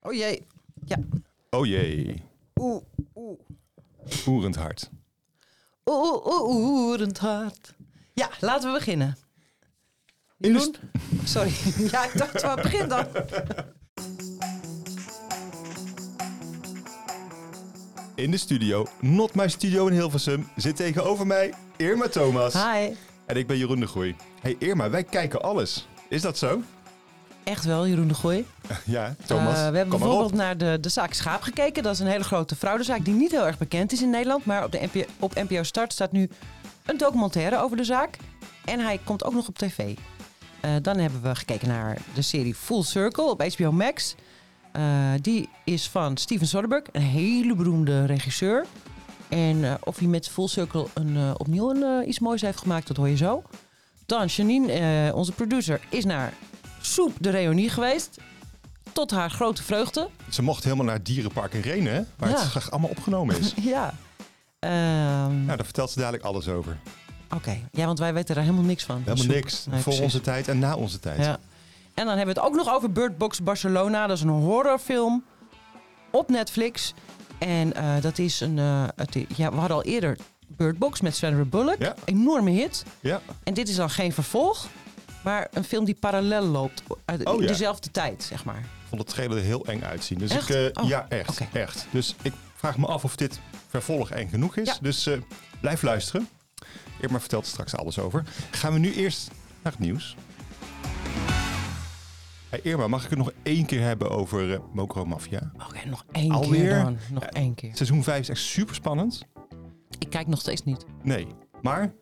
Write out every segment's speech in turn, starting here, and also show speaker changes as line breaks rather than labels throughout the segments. Oh jee. Ja.
Oh jee,
Oeh, oeh.
oerend hard.
Oeh, oeh, oeh, oerend hard. Ja, laten we beginnen.
In de
Jeroen? Sorry. Ja, ik dacht, waar begin dan?
In de studio, not my studio in Hilversum, zit tegenover mij Irma Thomas.
Hi.
En ik ben Jeroen de Groei. hey Irma, wij kijken alles. Is dat zo?
Echt wel, Jeroen de Gooi.
Ja, Thomas.
Eh, we hebben
kom maar
bijvoorbeeld
op.
naar de, de zaak Schaap gekeken. Dat is een hele grote fraudezaak die niet heel erg bekend is in Nederland. Maar op, de NPO, op NPO Start staat nu een documentaire over de zaak. En hij komt ook nog op tv. Eh, dan hebben we gekeken naar de serie Full Circle op HBO Max. Eh, die is van Steven Soderbergh, een hele beroemde regisseur. En eh, of hij met Full Circle een, eh, opnieuw een, eh, iets moois heeft gemaakt, dat hoor je zo. Dan Janine, eh, onze producer, is naar Soep de Reunie geweest tot haar grote vreugde.
Ze mocht helemaal naar Dierenpark in Renen, hè, waar
Ja.
het graag allemaal opgenomen is.
Ja. Ehm,
nou, daar vertelt ze dadelijk alles over.
Oké, ja, want wij weten daar helemaal niks van.
Helemaal
Soep.
niks.
Nee,
Voor
precies.
onze tijd en na onze tijd.
Ja. En dan hebben we het ook nog over Bird Box Barcelona. Dat is een horrorfilm op Netflix. En eh, dat is een... eh, het i- ja, we hadden al eerder Bird Box met Sandra Bullock.
Ja.
Enorme hit.
Ja.
En dit is dan geen vervolg. Maar een film die parallel loopt. Uit
Oh, ja.
dezelfde tijd, zeg maar.
Ik vond het trailer er heel eng uitzien. Dus
Echt?
Ik, eh,
Oh,
Ja, echt,
oké.
echt. Dus ik vraag me af of dit vervolg eng genoeg is.
Ja.
Dus eh, blijf luisteren. Irma vertelt er straks alles over. Gaan we nu eerst naar het nieuws. Hey Irma, mag ik het nog één keer hebben over eh Mokro Mafia?
Oké, nog één
Alweer?
keer dan. Nog
Ja.
één keer.
Seizoen 5 is echt super spannend.
Ik kijk nog steeds niet.
Nee, maar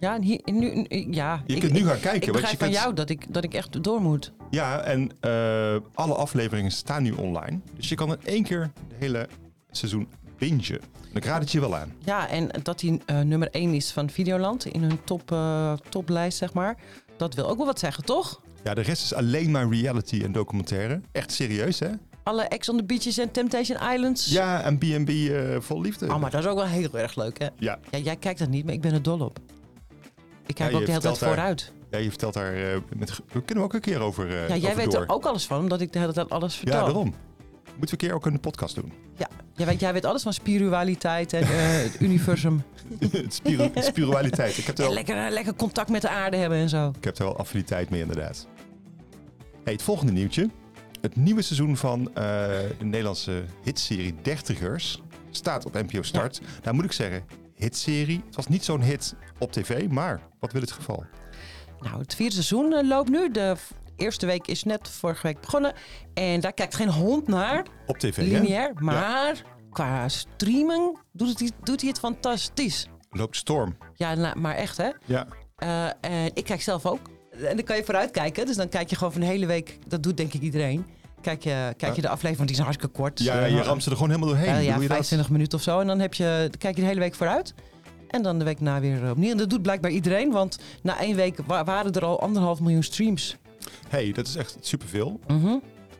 Ja, en hier, en nu, en- ja.
je
ik-
kunt nu gaan kijken.
Ik,
want
begrijp
je
van
kunt-
jou dat ik, dat ik echt door moet.
Ja, en eh, alle afleveringen staan nu online. Dus je kan in één keer het hele seizoen bingen. En ik raad het je wel aan.
Ja, en dat hij eh, nummer 1 is van Videoland in hun top, eh, toplijst, zeg maar. Dat wil ook wel wat zeggen, toch?
Ja, de rest is alleen maar reality en documentaire. Echt serieus, hè?
Alle Ex on the Beaches en Temptation Islands.
Ja, en B&B eh, vol liefde.
Oh, maar dat is ook wel heel erg leuk, hè?
ja.
Ja, jij kijkt dat niet, maar ik ben er dol op. Ik kijk
je
ook de hele tijd
vertelt daar-
vooruit.
ja, je vertelt daar... eh met, we kunnen we ook een keer over eh,
ja, jij
over
weet
door.
er ook alles van, omdat ik de hele tijd alles vertel.
Ja, daarom. Moeten we een keer ook een podcast doen.
Ja, jij, weet, jij weet alles van spiritualiteit en eh, het universum.
Spiru- Spiritualiteit. Ik heb er
En
wel,
lekker, eh, lekker contact met de aarde hebben en zo.
ik heb er wel affiniteit mee, inderdaad. Hey, het volgende nieuwtje. Het nieuwe seizoen van eh, de Nederlandse hitserie Dertigers staat op NPO Start. Nou moet ik zeggen, hitserie. Het was niet zo'n hit op tv, maar wat wil het geval?
Nou, het vierde seizoen eh, loopt nu. De v- eerste week is net vorige week begonnen. En daar kijkt geen hond naar,
Op tv, hè?
lineair. Maar qua streaming doet, het, doet hij het fantastisch.
Loopt storm.
Ja, nou, maar echt hè.
Ja.
Eh, en ik kijk zelf ook. En dan kan je vooruit kijken. Dus dan kijk je gewoon van de hele week. Dat doet denk ik iedereen. Kijk je, kijk je de aflevering, want die is hartstikke kort.
Ja,
Eh,
Dus, je ramt ze er gewoon helemaal doorheen.
eh, ja,
Bedoel je dat?
25 minuten of zo. En dan heb je, dan kijk je de hele week vooruit. En dan de week na weer eh, opnieuw. En dat doet blijkbaar iedereen. Want na één week wa- waren er al anderhalf miljoen streams.
hey, dat is echt superveel.
Mhm.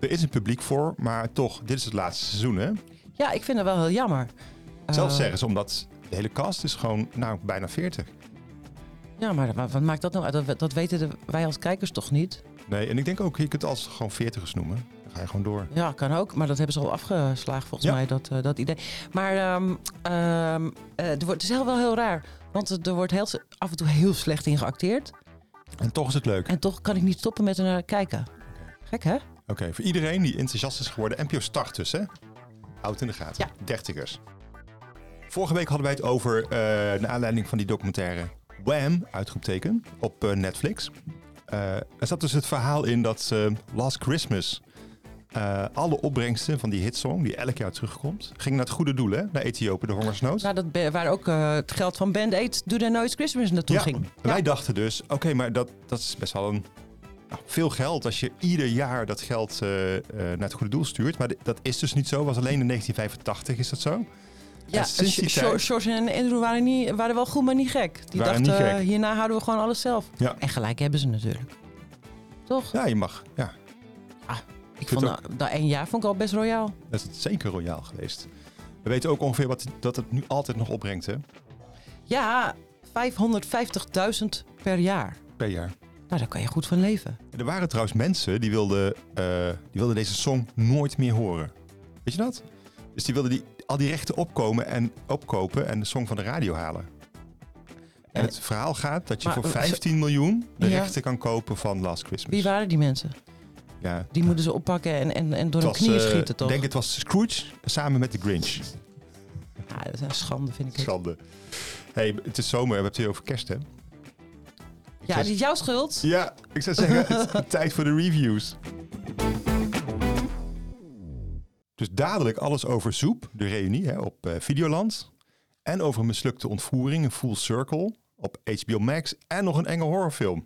Er is een publiek voor, maar toch, dit is het laatste seizoen, hè?
Ja, ik vind dat wel heel jammer.
Zelf
Eh,
zeggen ze, omdat de hele cast is gewoon nou, bijna 40.
Ja, maar wa- wat maakt dat nou uit? Dat, we- dat weten de- wij als kijkers toch niet?
Nee, en ik denk ook, je kunt als gewoon 40ers noemen. Dan ga je gewoon door.
Ja, kan ook. Maar dat hebben ze al afgeslagen volgens
Ja.
mij, dat, eh, dat idee. Maar ehm, ehm, eh, er wordt, het is heel wel heel raar. Want het- er wordt heel, s- af en toe heel slecht in geacteerd.
En toch is het leuk.
En toch kan ik niet stoppen met er naar kijken. Gek, hè?
Oké, voor iedereen die enthousiast is geworden, NPO Start dus, hè? Houd in de gaten. Dertigers. Vorige week hadden wij het over, eh naar aanleiding van die documentaire Wham, uitroepteken, op eh, Netflix. Eh, er zat dus het verhaal in dat eh, Last Christmas eh, alle opbrengsten van die hitsong, die elk jaar terugkomt, ging naar het goede doel, hè? Naar Ethiopië, de hongersnood.
Nou, dat be- waar ook eh, het geld van Band Aid Do There Nooit Christmas naartoe
Ja,
ging.
Wij dachten dus, oké, maar dat, dat is best wel een, nou, veel geld als je ieder jaar dat geld eh, eh, naar het goede doel stuurt. Maar di- dat is dus niet zo. Was alleen in 1985 is dat zo.
Ja,
sinds die
Sh-
tijd-
Sh- George en Andrew waren, niet, waren wel goed, maar niet gek. Die
Waren
dachten,
niet gek.
eh, hierna houden we gewoon alles zelf.
Ja.
En gelijk hebben ze natuurlijk. Toch?
Ja, je mag. Ja,
ik
vind
vond dat, dat één jaar vond ik al best royaal.
dat is zeker royaal geweest. We weten ook ongeveer wat, dat het nu altijd nog opbrengt hè,
Ja, 550.000 per jaar.
per jaar.
Nou, daar kan je goed van leven.
Er waren trouwens mensen die wilden, eh, die wilden deze song nooit meer horen. Weet je dat? Dus die wilden die, al die rechten opkomen en opkopen en de song van de radio halen.
Ja.
En het verhaal gaat dat je
Maar,
voor
eh,
15 miljoen de
Ja.
rechten kan kopen van Last Christmas.
Wie waren die mensen?
ja.
Die moeten ze oppakken en, en, en door hun
Het was,
knieën
eh,
schieten, toch?
Ik denk het was Scrooge samen met de Grinch.
Ja, dat is een schande, vind ik. dit.
Schande. hey, het is zomer. We hebben het hier over kerst, hè? Ik
Ja,
zou-
dat is jouw schuld.
ja, ik zou zeggen, het is tijd voor de reviews. Dus dadelijk alles over Zoep, de reunie hè, op eh, Videoland. En over een mislukte ontvoering, een Full Circle, op HBO Max. En nog een enge horrorfilm,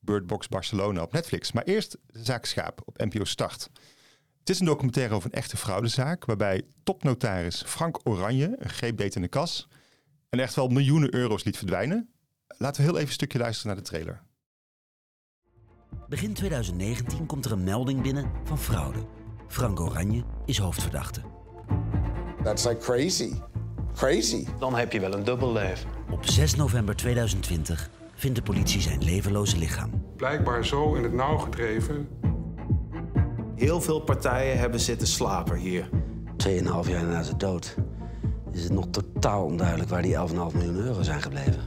Bird Box Barcelona op Netflix. Maar eerst de zaak Schaap op NPO Start. Het is een documentaire over een echte fraudezaak... waarbij topnotaris Frank Oranje een greep deed in de kas... en echt wel miljoenen euro's liet verdwijnen. Laten we heel even een stukje luisteren naar de trailer.
Begin 2019 komt er een melding binnen van fraude. Frank Oranje is hoofdverdachte.
That's like crazy. Crazy.
Dan heb je wel een dubbel leven.
Op 6 november 2020 vindt de politie zijn levenloze lichaam.
blijkbaar zo in het nauw gedreven
Heel veel partijen hebben zitten slapen hier.
2,5 jaar na zijn dood is het nog totaal onduidelijk waar die 11,5 miljoen euro zijn gebleven.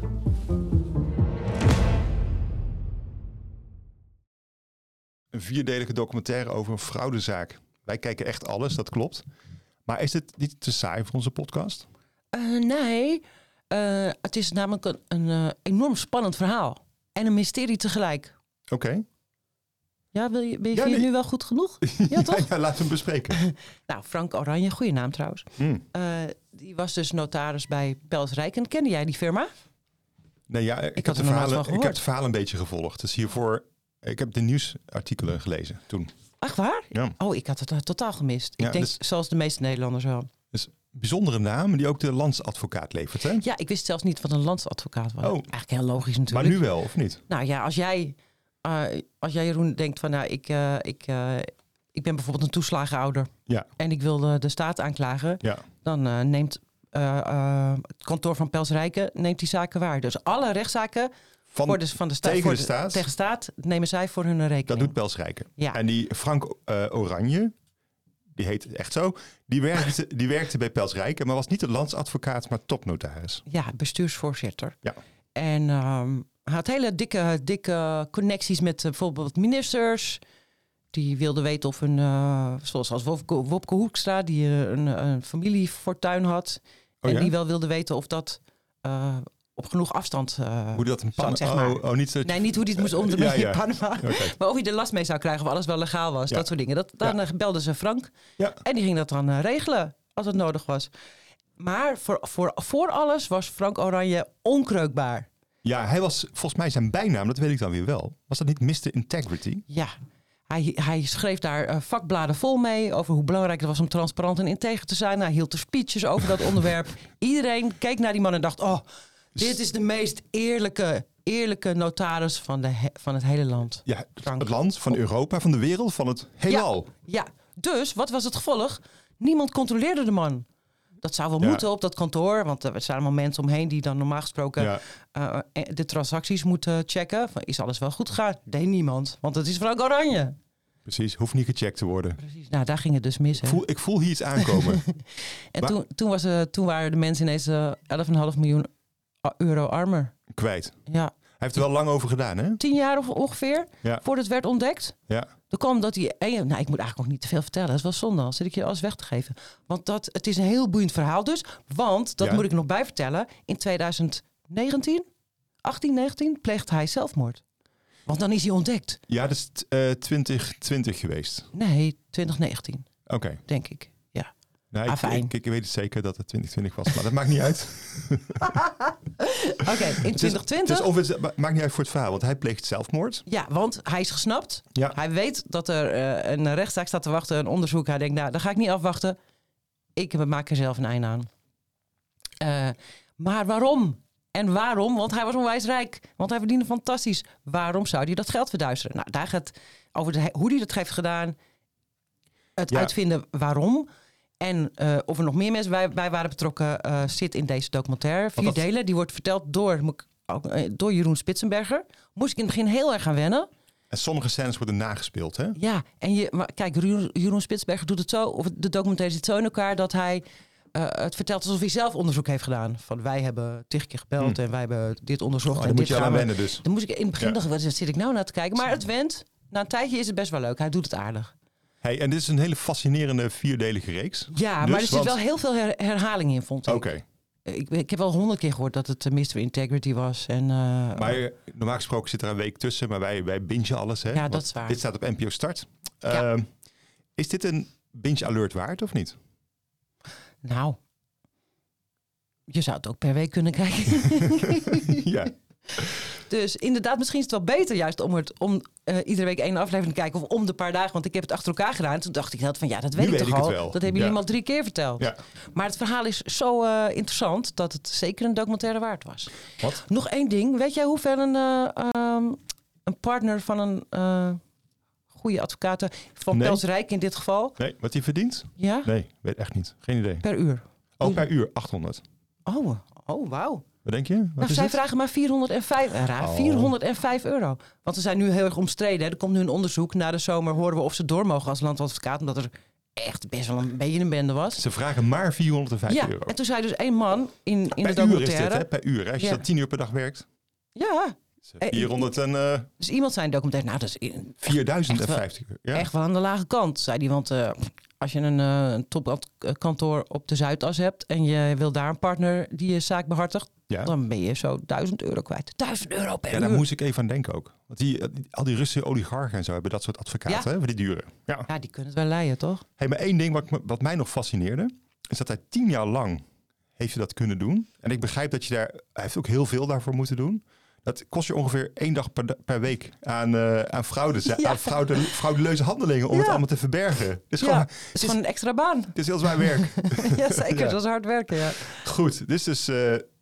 een vierdelige documentaire over een fraudezaak. Wij kijken echt alles, dat klopt. Maar is het niet te saai voor onze podcast?
Eh, nee, Eh, het is namelijk een, een eh, enorm spannend verhaal. En een mysterie tegelijk.
Oké.
Ja, wil je, ben je, vind je
Ja, nee.
het nu wel goed genoeg? Ja, toch?
Ja, laten we hem bespreken.
Nou, Frank Oranje, goede naam trouwens.
Hmm.
Eh, die was dus notaris bij Pels Rijken. Kende jij die firma?
Nee, ja, ik,
had
heb de
er nog nooit
verhalen,
van
ik
gehoord.
heb het verhaal een beetje gevolgd. Dus hiervoor, ik heb de nieuwsartikelen gelezen toen.
Ach, waar?
Ja.
Oh, ik had het eh, totaal gemist.
Ja,
ik denk,
dus-
zoals de meeste Nederlanders wel.
Dus bijzondere naam die ook de landsadvocaat levert. Hè?
Ja, ik wist zelfs niet wat een landsadvocaat was.
Oh.
Eigenlijk heel logisch
maar
natuurlijk.
nu wel, of niet?
Nou ja, als jij, eh, als jij Jeroen denkt van, nou, ik, eh, ik, eh, ik ben bijvoorbeeld een toeslagenouder.
Ja.
En ik wil de, de staat aanklagen.
Ja.
Dan eh, neemt eh, eh, het kantoor van Pels Rijken neemt die zaken waar. Dus alle rechtszaken
Van,
voor de, van de staat,
tegen
voor
de staat?
tegen staat nemen zij voor hun rekening.
Dat doet Pels Rijken.
Ja.
En die Frank eh, Oranje, die heet echt zo, die werkte, die werkte bij Pels Rijken, maar was niet de landsadvocaat, maar topnotaris.
Ja, bestuursvoorzitter.
Ja.
En ehm, hij had hele dikke, dikke connecties met eh, bijvoorbeeld ministers. Die wilden weten of een, eh, zoals als Wopke, Wopke Hoekstra, die eh, een, een familiefortuin had.
Oh
en
ja?
die wel wilden weten of dat eh, op genoeg afstand. eh,
Hoe dat een
zat,
pan...
zeg maar.
oh, oh, niet dat je-
Nee, niet hoe die het moest onderbrengen
Ja, ja.
in Panama. Maar of hij er last mee zou krijgen of alles wel legaal was.
Ja.
Dat soort dingen. Dat, dan
Ja.
eh, belden ze Frank.
Ja.
En die ging dat dan eh, regelen als het nodig was. Maar voor, voor, voor alles was Frank Oranje onkreukbaar.
Ja, hij was volgens mij zijn bijnaam, dat weet ik dan weer wel. Was dat niet Mr. Integrity?
Ja. Hij, hij schreef daar eh, vakbladen vol mee over hoe belangrijk het was om transparant en integer te zijn. Hij hield er speeches over dat onderwerp. Iedereen keek naar die man en dacht: Oh, dit is de meest eerlijke, eerlijke notaris van, de he- van het hele land.
Ja, het-
Frank. Oh.
het land, van Europa, van de wereld, van het heelal.
Ja, dus wat was het gevolg? Niemand controleerde de man. Dat zou wel
Ja.
moeten op dat kantoor, want er zijn allemaal mensen omheen die dan normaal gesproken
Ja.
eh, eh, de transacties moeten checken. Van, is alles wel goed gegaan? Deed niemand, want het is Frank Oranje.
Precies, hoeft niet gecheckt te worden.
Nou, daar ging het dus mis. Hè?
Ik voel, ik voel hier iets aankomen.
En
Wa-
toen, toen, was, eh, toen waren de mensen ineens eh, 11,5 miljoen a- euro armer.
Kwijt.
Ja,
Hij heeft er wel lang over gedaan, hè?
tien jaar of ongeveer
Ja.
voordat het werd ontdekt.
Ja.
Er kwam dat die ene. Nou, ik moet eigenlijk ook niet te veel vertellen. Dat is wel zonde. Dan zit ik je alles weg te geven. Want dat, het is een heel boeiend verhaal dus. Want, dat
Ja.
moet ik nog bij vertellen. In 2019, 18, 19, pleegt hij zelfmoord. Want dan is hij ontdekt.
Ja, dat is t- eh, 2020 geweest.
Nee, 2019,
Oké.
denk ik. Ja.
Nou, ik,
Afijn.
ik, ik weet het zeker dat het 2020 was, maar dat maakt niet uit. Het
Oké, in
is- Het
2020.
is, of het ma- maakt niet uit voor het verhaal, want hij pleegt zelfmoord.
Ja, want hij is gesnapt.
Ja.
Hij weet dat er eh, een rechtszaak staat te wachten, een onderzoek. Hij denkt, nou, daar ga ik niet afwachten. Ik maak er zelf een einde aan. Eh, maar waarom? En waarom? Want hij was onwijs rijk. Want hij verdiende fantastisch. Waarom zou hij dat geld verduisteren? Nou, daar gaat over de, hoe hij dat heeft gedaan. Het
Ja.
uitvinden waarom. En eh, of er nog meer mensen bij, bij waren betrokken, eh, zit in deze documentaire. Vier
Want dat-
delen. Die wordt verteld door, moet ik ook, eh, door Jeroen Spitsenberger, moest ik in het begin heel erg gaan wennen.
En sommige scènes worden nagespeeld, hè?
Ja, en je, maar kijk, Jeroen, Jeroen Spitsberger doet het zo, of de documentaire zit zo in elkaar dat hij eh, het vertelt alsof hij zelf onderzoek heeft gedaan. Van wij hebben tig keer gebeld en wij hebben dit onderzocht.
Hmm. Oh,
en
dan moet
dit
je al
gaan
aan
we-
wennen dus.
Dan moest ik in het begin
Ja.
dacht ik, wat zit ik nou naar te kijken? Maar het went. Na een tijdje is het best wel leuk. Hij doet het aardig.
Hey, en dit is een hele fascinerende vierdelige reeks.
Ja,
Dus,
maar er zit
want-
wel heel veel her- herhaling in, vond ik.
Oké,
ik. Ik heb wel honderd keer gehoord dat het eh, Mr. Integrity was. En, eh,
maar eh, normaal gesproken zit er een week tussen, maar wij, wij bingen alles, hè?
Ja,
Want
dat is waar.
Dit staat op NPO Start.
Ja.
Ehm, is dit een binge alert waard of niet?
Nou, je zou het ook per week kunnen kijken.
ja.
Dus inderdaad, misschien is het wel beter juist om, het, om eh, iedere week één aflevering te kijken. Of om de paar dagen, want ik heb het achter elkaar gedaan. Toen dacht ik nou, dat van ja, dat weet
Nu
ik
weet
toch
ik
al.
het wel.
Dat hebben jullie
Ja.
al drie keer verteld.
Ja.
Maar het verhaal is zo eh, interessant dat het zeker een documentaire waard was.
Wat?
Nog één ding. Weet jij hoe ver een, eh, ehm, een partner van een eh, goede advocaat, eh, van
Nee.
Pels Rijk in dit geval,
Nee, wat hij verdient?
ja?
Nee, weet echt niet. Geen idee.
per uur?
Ook per uur 800.
Oh, oh wauw.
Wat denk je? Wat
Nou,
is
zij
het?
vragen maar 405, eh, raar,
Oh.
405 euro. Want ze zijn nu heel erg omstreden. Hè. Er komt nu een onderzoek. Na de zomer horen we of ze door mogen als landadvocaat. Omdat er echt best wel een beetje een bende was.
Ze vragen maar 405
Ja,
euro.
en toen zei dus één man in, in de
per uur is dit, hè?
documentaire...
Per uur. hè? Als je
Ja.
dat 10 uur per dag werkt,
Ja,
is
Eh,
het 400 en eh,
dus iemand zei in de documentaire... Nou, dat is in-
4050 uur. Ja.
echt wel aan de lage kant, zei die. Want eh, als je een, eh, een topkantoor op de Zuidas hebt... en je wil daar een partner die je zaak behartigt...
Ja.
dan ben je zo 1000 euro kwijt. 1000 euro per
Ja,
uur.
daar moest ik even aan denken ook. Want die, eh, die- al die Russische oligarchen en zo hebben dat soort advocaten,
Ja.
hè, van die duren. Ja.
Ja, die kunnen het wel leiden, toch?
Hey, maar één ding wat, me- wat mij nog fascineerde, is dat hij tien jaar lang heeft hij dat kunnen doen. En ik begrijp dat je daar, hij heeft ook heel veel daarvoor moeten doen. Dat kost je ongeveer één dag per, da- per week aan, eh, aan, fraude, aan fraude, fraudeleuze handelingen om het
Ja.
allemaal te verbergen. Het is,
ja,
gewoon,
het is, gewoon een extra baan.
het is heel zwaar werk.
ja, zeker.
Ja.
Dat is hard werken, ja.
Goed, dit is dus eh,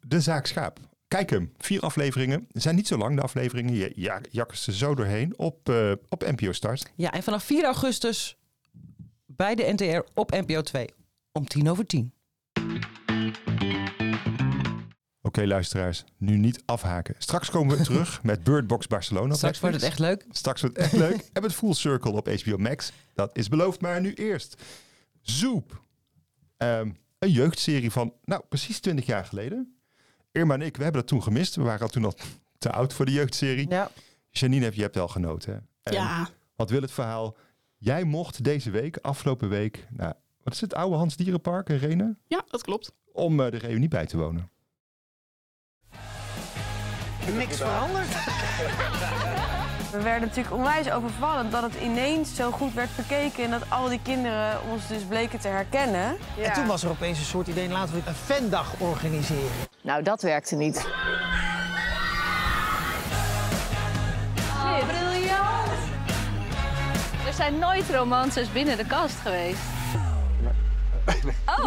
de zaak Schaap. Kijk hem, vier afleveringen. Ze zijn niet zo lang de afleveringen. Je ja, jakken ze zo doorheen op, eh, op NPO Start.
Ja, en vanaf 4 augustus bij de NTR op NPO 2 om tien over tien.
Oké, luisteraars, nu niet afhaken. Straks komen we terug met Bird Box Barcelona. op
Straks wordt het
Netflix.
echt leuk.
Straks wordt het echt leuk. En met Full Circle op HBO Max. Dat is beloofd, maar nu eerst. Zoep. Ehm, een jeugdserie van, nou, precies 20 jaar geleden. Irma en ik, we hebben dat toen gemist. We waren toen al te oud voor de jeugdserie.
Ja.
Janine, heb- je hebt wel genoten, hè? En
Ja,
Wat wil het verhaal? Jij mocht deze week, afgelopen week, nou, wat is het oude Hans Dierenpark in Renen?
ja, dat klopt.
Om eh, de reunie bij te wonen.
Niks veranderd.
We werden natuurlijk onwijs overvallen dat het ineens zo goed werd bekeken en dat al die kinderen ons dus bleken te herkennen.
En toen was er opeens een soort idee, laten we een fandag organiseren.
Nou, dat werkte niet. briljant! Er zijn nooit romances binnen de kast geweest. Oh.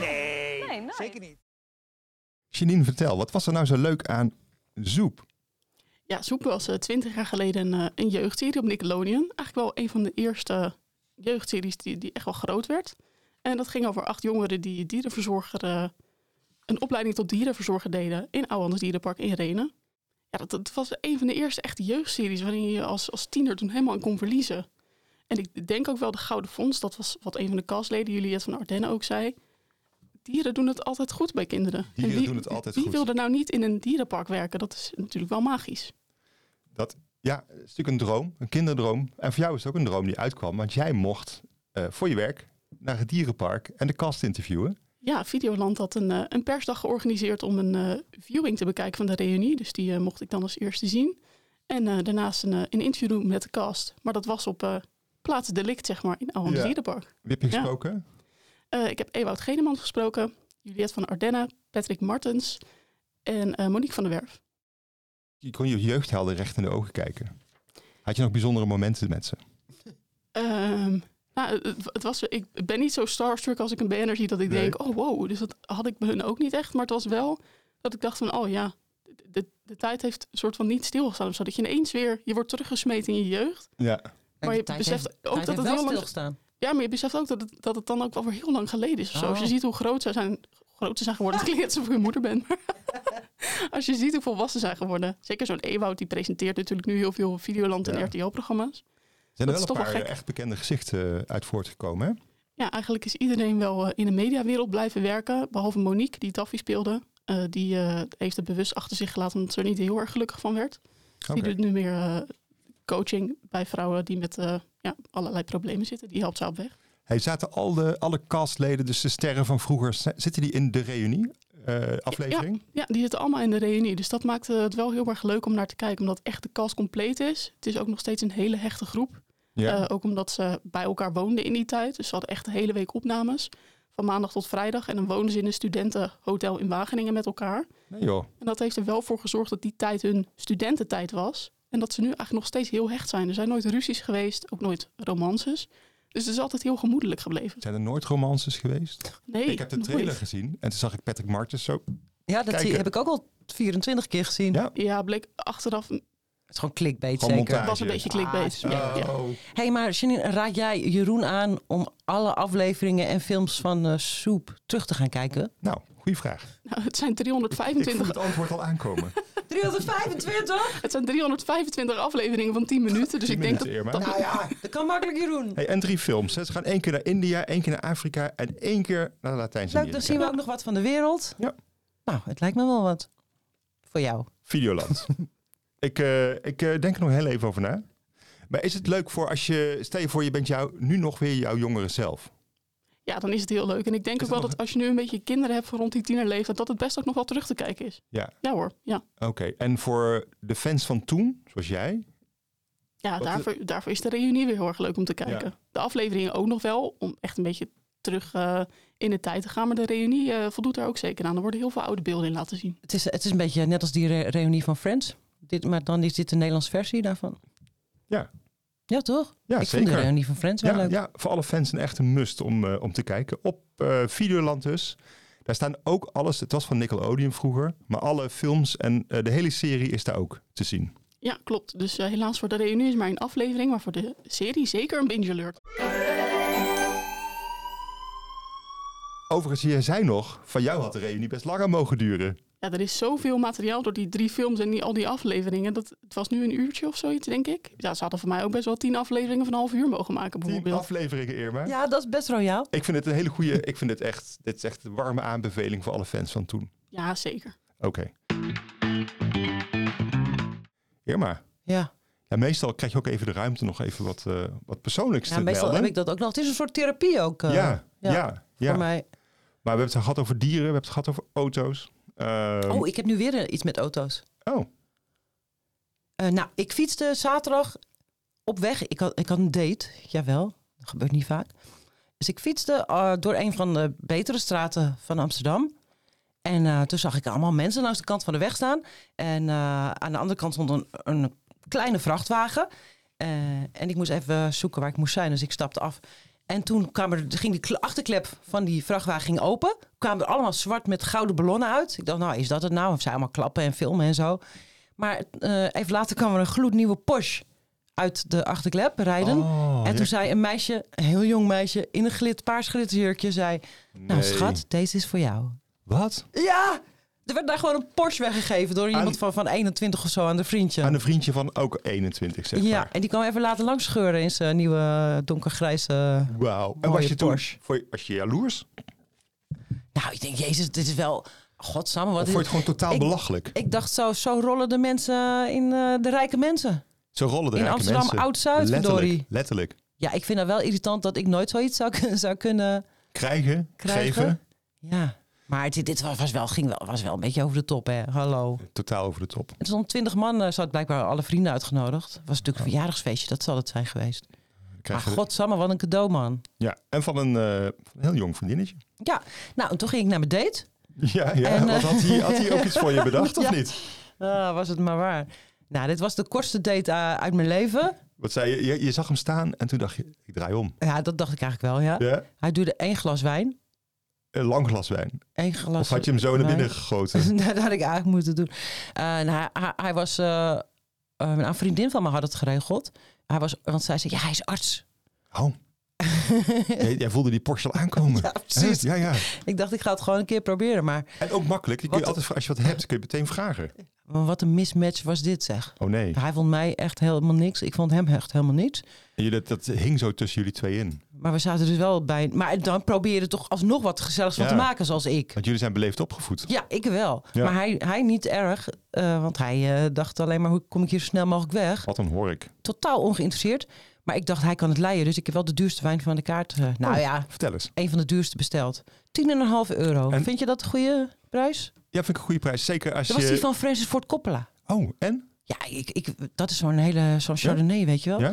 Nee,
Nee, nooit.
zeker niet.
Janine, vertel, wat was er nou zo leuk aan Zoep?
Ja, Zoep was eh, twintig jaar geleden een, eh, een jeugdserie op Nickelodeon. Eigenlijk wel een van de eerste jeugdseries die, die echt wel groot werd. En dat ging over acht jongeren die dierenverzorger, eh, een opleiding tot dierenverzorger deden in Ouwanders Dierenpark in Renen. Ja, dat, dat was een van de eerste echte jeugdseries waarin je als, als tiener toen helemaal aan kon verliezen. En ik denk ook wel de Gouden Fonds, dat was wat een van de castleden, Juliette van Ardenne, ook zei. Dieren doen het altijd goed bij kinderen.
Dieren
en wie,
doen het altijd
wie
goed.
wil er nou niet in een dierenpark werken? Dat is natuurlijk wel magisch.
Dat, ja, het is natuurlijk een droom, een kinderdroom. En voor jou is het ook een droom die uitkwam, want jij mocht eh, voor je werk naar het dierenpark en de kast interviewen.
Ja, Videoland had een, eh, een persdag georganiseerd om een eh, viewing te bekijken van de reunie. Dus die eh, mocht ik dan als eerste zien. En eh, daarnaast een, eh, een interview doen met de cast. Maar dat was op eh, plaats delict, zeg maar, in Oude
Ja.
Dierenpark.
Wie heb je
Ja.
gesproken?
Eh, ik heb Ewout Geneman gesproken, Juliette van Ardenne, Patrick Martens en eh, Monique van der Werf.
Je kon je jeugdhelden recht in de ogen kijken. Had je nog bijzondere momenten met ze?
Ehm, nou, het, het was, ik ben niet zo starstruck als ik een banner zie dat ik
Nee.
denk, oh wow, dus dat had ik bij hun ook niet echt. Maar het was wel dat ik dacht van, oh ja, de, de, de tijd heeft een soort van niet stilgestaan. Of zo, dat je ineens weer, je wordt teruggesmeten in je jeugd.
Ja.
Maar
de
je
tijd
beseft
heeft-
ook
de
dat
tijd
het
heeft wel
heel lang-
stilgestaan.
Ja, maar je beseft ook dat het, dat het dan ook wel weer heel lang geleden is of zo. Als je
Oh.
ziet hoe groot ze zijn, groot ze zijn geworden, het klinkt alsof ik hun moeder ben. maar- Als je ziet hoe volwassen ze zijn geworden. Zeker zo'n Ewout, die presenteert natuurlijk nu heel veel Videoland en
Ja.
RTL-programma's.
zijn er
dat
wel
is
een
toch wel
paar
gek.
eh, echt bekende gezichten eh, uit voortgekomen. Hè?
Ja, eigenlijk is iedereen wel eh, in de mediawereld blijven werken. Behalve Monique, die Daffy speelde. Eh, die eh, heeft het bewust achter zich gelaten omdat ze er niet heel erg gelukkig van werd. Dus
Oké.
Die doet nu meer eh, coaching bij vrouwen die met eh, ja, allerlei problemen zitten. Die helpt ze op weg.
Hey, zaten al de, alle castleden, dus de sterren van vroeger, z- zitten die in de reunie eh, aflevering?
Ja, die zitten allemaal in de reunie. Dus dat maakt eh, het wel heel erg leuk om naar te kijken. Omdat echt de cast compleet is. Het is ook nog steeds een hele hechte groep.
Ja.
Eh, ook omdat ze bij elkaar woonden in die tijd. Dus ze hadden echt de hele week opnames. Van maandag tot vrijdag. En dan woonden ze in een studentenhotel in Wageningen met elkaar.
Nee joh.
En dat heeft er wel voor gezorgd dat die tijd hun studententijd was. En dat ze nu eigenlijk nog steeds heel hecht zijn. Er zijn nooit ruzies geweest, ook nooit romances. Dus het is altijd heel gemoedelijk gebleven.
Zijn er nooit romances geweest?
Nee,
Ik heb de
nooit.
trailer gezien en toen zag ik Patrick Martens zo.
Ja, dat zie,
Kijken.
heb ik ook al 24 keer gezien.
Ja.
Ja, bleek achteraf
Het is gewoon clickbait zeker.
Gewoon montage.
was een beetje clickbait.
Ah,
ja, ja.
Oh.
Hé, hey, maar Janine, raad jij Jeroen aan om alle afleveringen en films van eh, Soep terug te gaan kijken?
Nou, goede vraag.
Nou, het zijn
Ik voel
325
het antwoord al aankomen.
325?
Het zijn 325 afleveringen van 10 minuten. Dus
10
ik denk dat,
minuten, Irma.
dat-
Nou ja, dat kan makkelijk Jeroen.
Hey, en drie films. hè. Ze gaan één keer naar India, één keer naar Afrika en één keer naar
Leuk, dan
Latijns-Amerika.
zien we ook nog wat van de wereld.
Ja.
Nou, het lijkt me wel wat. Voor jou.
Videoland. ik eh, ik eh, denk er nog heel even over na. Maar is het leuk voor als je, stel je voor je bent jou, nu nog weer jouw jongere zelf.
ja, dan is het heel leuk. En ik denk
Is
ook wel
het nog-
dat als je nu een beetje kinderen hebt van rond die tienerleeftijd, dat het best ook nog wel terug te kijken is.
Ja.
Ja hoor, ja.
Oké, en voor de fans van toen, zoals jij,
Ja,
Wat-
daarvoor, daarvoor is de reunie weer heel erg leuk om te kijken.
Ja.
De afleveringen ook nog wel, om echt een beetje terug eh, in de tijd te gaan. Maar de reunie eh, voldoet daar ook zeker aan. Er worden heel veel oude beelden in laten zien.
Het is, het is een beetje net als die re- reunie van Friends. Dit, maar dan is dit de Nederlands versie daarvan.
Ja.
Ja, toch?
Ja,
ik vond
zeker.
de reunie van Friends wel
Ja,
leuk.
ja, voor alle fans een echte must om, eh, om te kijken. Op eh Videoland dus. Daar staan ook alles. Het was van Nickelodeon vroeger. Maar alle films en eh, de hele serie is daar ook te zien.
Ja, klopt. Dus eh, helaas voor de reunie is maar een aflevering, maar voor de serie zeker een binge alert.
Overigens, jij zei nog, van jou had de reunie best langer mogen duren.
Ja, er is zoveel materiaal door die drie films en die, al die afleveringen. Dat, het was nu een uurtje of zoiets, denk ik. Ja, ze hadden voor mij ook best wel tien afleveringen van een half uur mogen maken,
Tien
bijvoorbeeld.
afleveringen, Irma.
Ja, dat is best royaal.
Ik vind het een hele goede. ik vind het echt, dit is echt een warme aanbeveling voor alle fans van toen.
ja, zeker.
Oké. Irma,
Ja,
ja, meestal krijg je ook even de ruimte nog even wat, eh, wat persoonlijks
ja
te
meestal
melden.
heb ik dat ook nog. Het is een soort therapie ook. eh,
ja, ja,
ja,
ja.
Voor mij.
Maar we hebben het gehad over dieren, we hebben het gehad over auto's. Ehm,
Oh, ik heb nu weer eh, iets met auto's.
oh,
Eh, nou, ik fietste zaterdag op weg. Ik had, ik had een date, jawel. Dat gebeurt niet vaak. Dus ik fietste eh, door een van de betere straten van Amsterdam. En eh, toen zag ik allemaal mensen langs de kant van de weg staan. En eh, aan de andere kant stond een, een kleine vrachtwagen. Eh, en ik moest even zoeken waar ik moest zijn, dus ik stapte af. En toen kwam er, ging die kle- achterklep van die vrachtwagen ging open. Kwamen er allemaal zwart met gouden ballonnen uit. Ik dacht, nou, is dat het nou? Of zij allemaal klappen en filmen en zo. Maar eh, even later kwam er een gloednieuwe Porsche uit de achterklep rijden.
Oh,
en
ja.
toen zei een meisje, een heel jong meisje, in een glit, paars glitterjurkje, zei... Nou
Nee.
schat, deze is voor jou.
wat?
Ja! Er werd daar gewoon een Porsche weggegeven door iemand van, van 21 of zo aan de vriendje.
Aan een vriendje van ook 21, zeg
ja,
maar.
en die kwam even laten langs scheuren in zijn nieuwe eh, donkergrijze...
Wauw. En
Mooie
was je toen,
Porsche.
voor je, was je jaloers?
Nou, ik denk, jezus, dit is wel... Godsamme, wat
Of vond
is
je het gewoon totaal
Ik-
belachelijk?
Ik dacht zo, zo rollen de mensen in eh, de rijke mensen.
Zo rollen de
in
rijke
Amsterdam,
mensen.
Oud-Zuid,
Letterlijk,
verdorie.
letterlijk.
Ja, ik vind dat wel irritant dat ik nooit zoiets zou, kun- zou kunnen
Krijgen,
krijgen.
geven,
Ja, maar dit, dit was, was wel, ging wel, was wel een beetje over de top, hè. Hallo.
totaal over de top.
Er stonden twintig man, eh, ze had blijkbaar alle vrienden uitgenodigd. was natuurlijk een verjaardagsfeestje, dat zal het zijn geweest. Maar
Krijg je-
godsamme, wat een cadeau, man.
Ja, en van een, eh, van een heel jong vriendinnetje.
Ja, nou, en toen ging ik naar mijn date.
Ja, ja.
En, eh,
want had hij, had hij ook iets voor je bedacht of
Ja.
niet?
Ah, was het maar waar. Nou, dit was de kortste date eh, uit mijn leven.
Wat zei je? je? Je zag hem staan en toen dacht je, ik draai om.
Ja, dat dacht ik eigenlijk wel, ja.
Ja,
Hij duurde één glas wijn.
een lang glas wijn.
Eén glas
Of had je hem zo naar
wijn.
binnen gegoten?
dat had ik eigenlijk moeten doen. Eh, en hij, hij, hij was, eh, eh, een vriendin van me had het geregeld. Hij was, want zij zei, ja, hij is arts.
Oh, Jij, jij voelde die Porsche al aankomen.
Ja, precies.
Hè? Oh Ja, ja.
Ik dacht, ik ga het gewoon een keer proberen. Maar
En ook makkelijk. Je kun je
Wat-
altijd, als je wat hebt, kun je meteen vragen.
maar wat een mismatch was dit, zeg.
Oh nee.
Hij vond mij echt helemaal niks. Ik vond hem echt helemaal niets.
En jullie, dat, dat hing zo tussen jullie twee in.
Maar we zaten dus wel bij... Maar dan probeer je er toch alsnog wat gezelligs van
Ja.
te maken, zoals ik.
Want jullie zijn beleefd opgevoed.
Ja, ik wel.
Ja.
Maar hij, hij niet erg, eh, want hij eh, dacht alleen maar... hoe kom ik hier zo snel mogelijk weg?
Wat een hoor ik.
Totaal ongeïnteresseerd. Maar ik dacht, hij kan het leiden. Dus ik heb wel de duurste wijn van de kaart... eh, nou
Oh.
ja,
Vertel eens.
een van de duurste besteld. 10,5 euro.
En-
Vind je dat een goede prijs?
Ja, vind ik een goede prijs. Zeker als
Dat was
je...
die van Francis Ford Coppola.
Oh, en?
Ja, ik, ik, dat is zo'n hele zo'n Chardonnay, weet je wel?
Ja?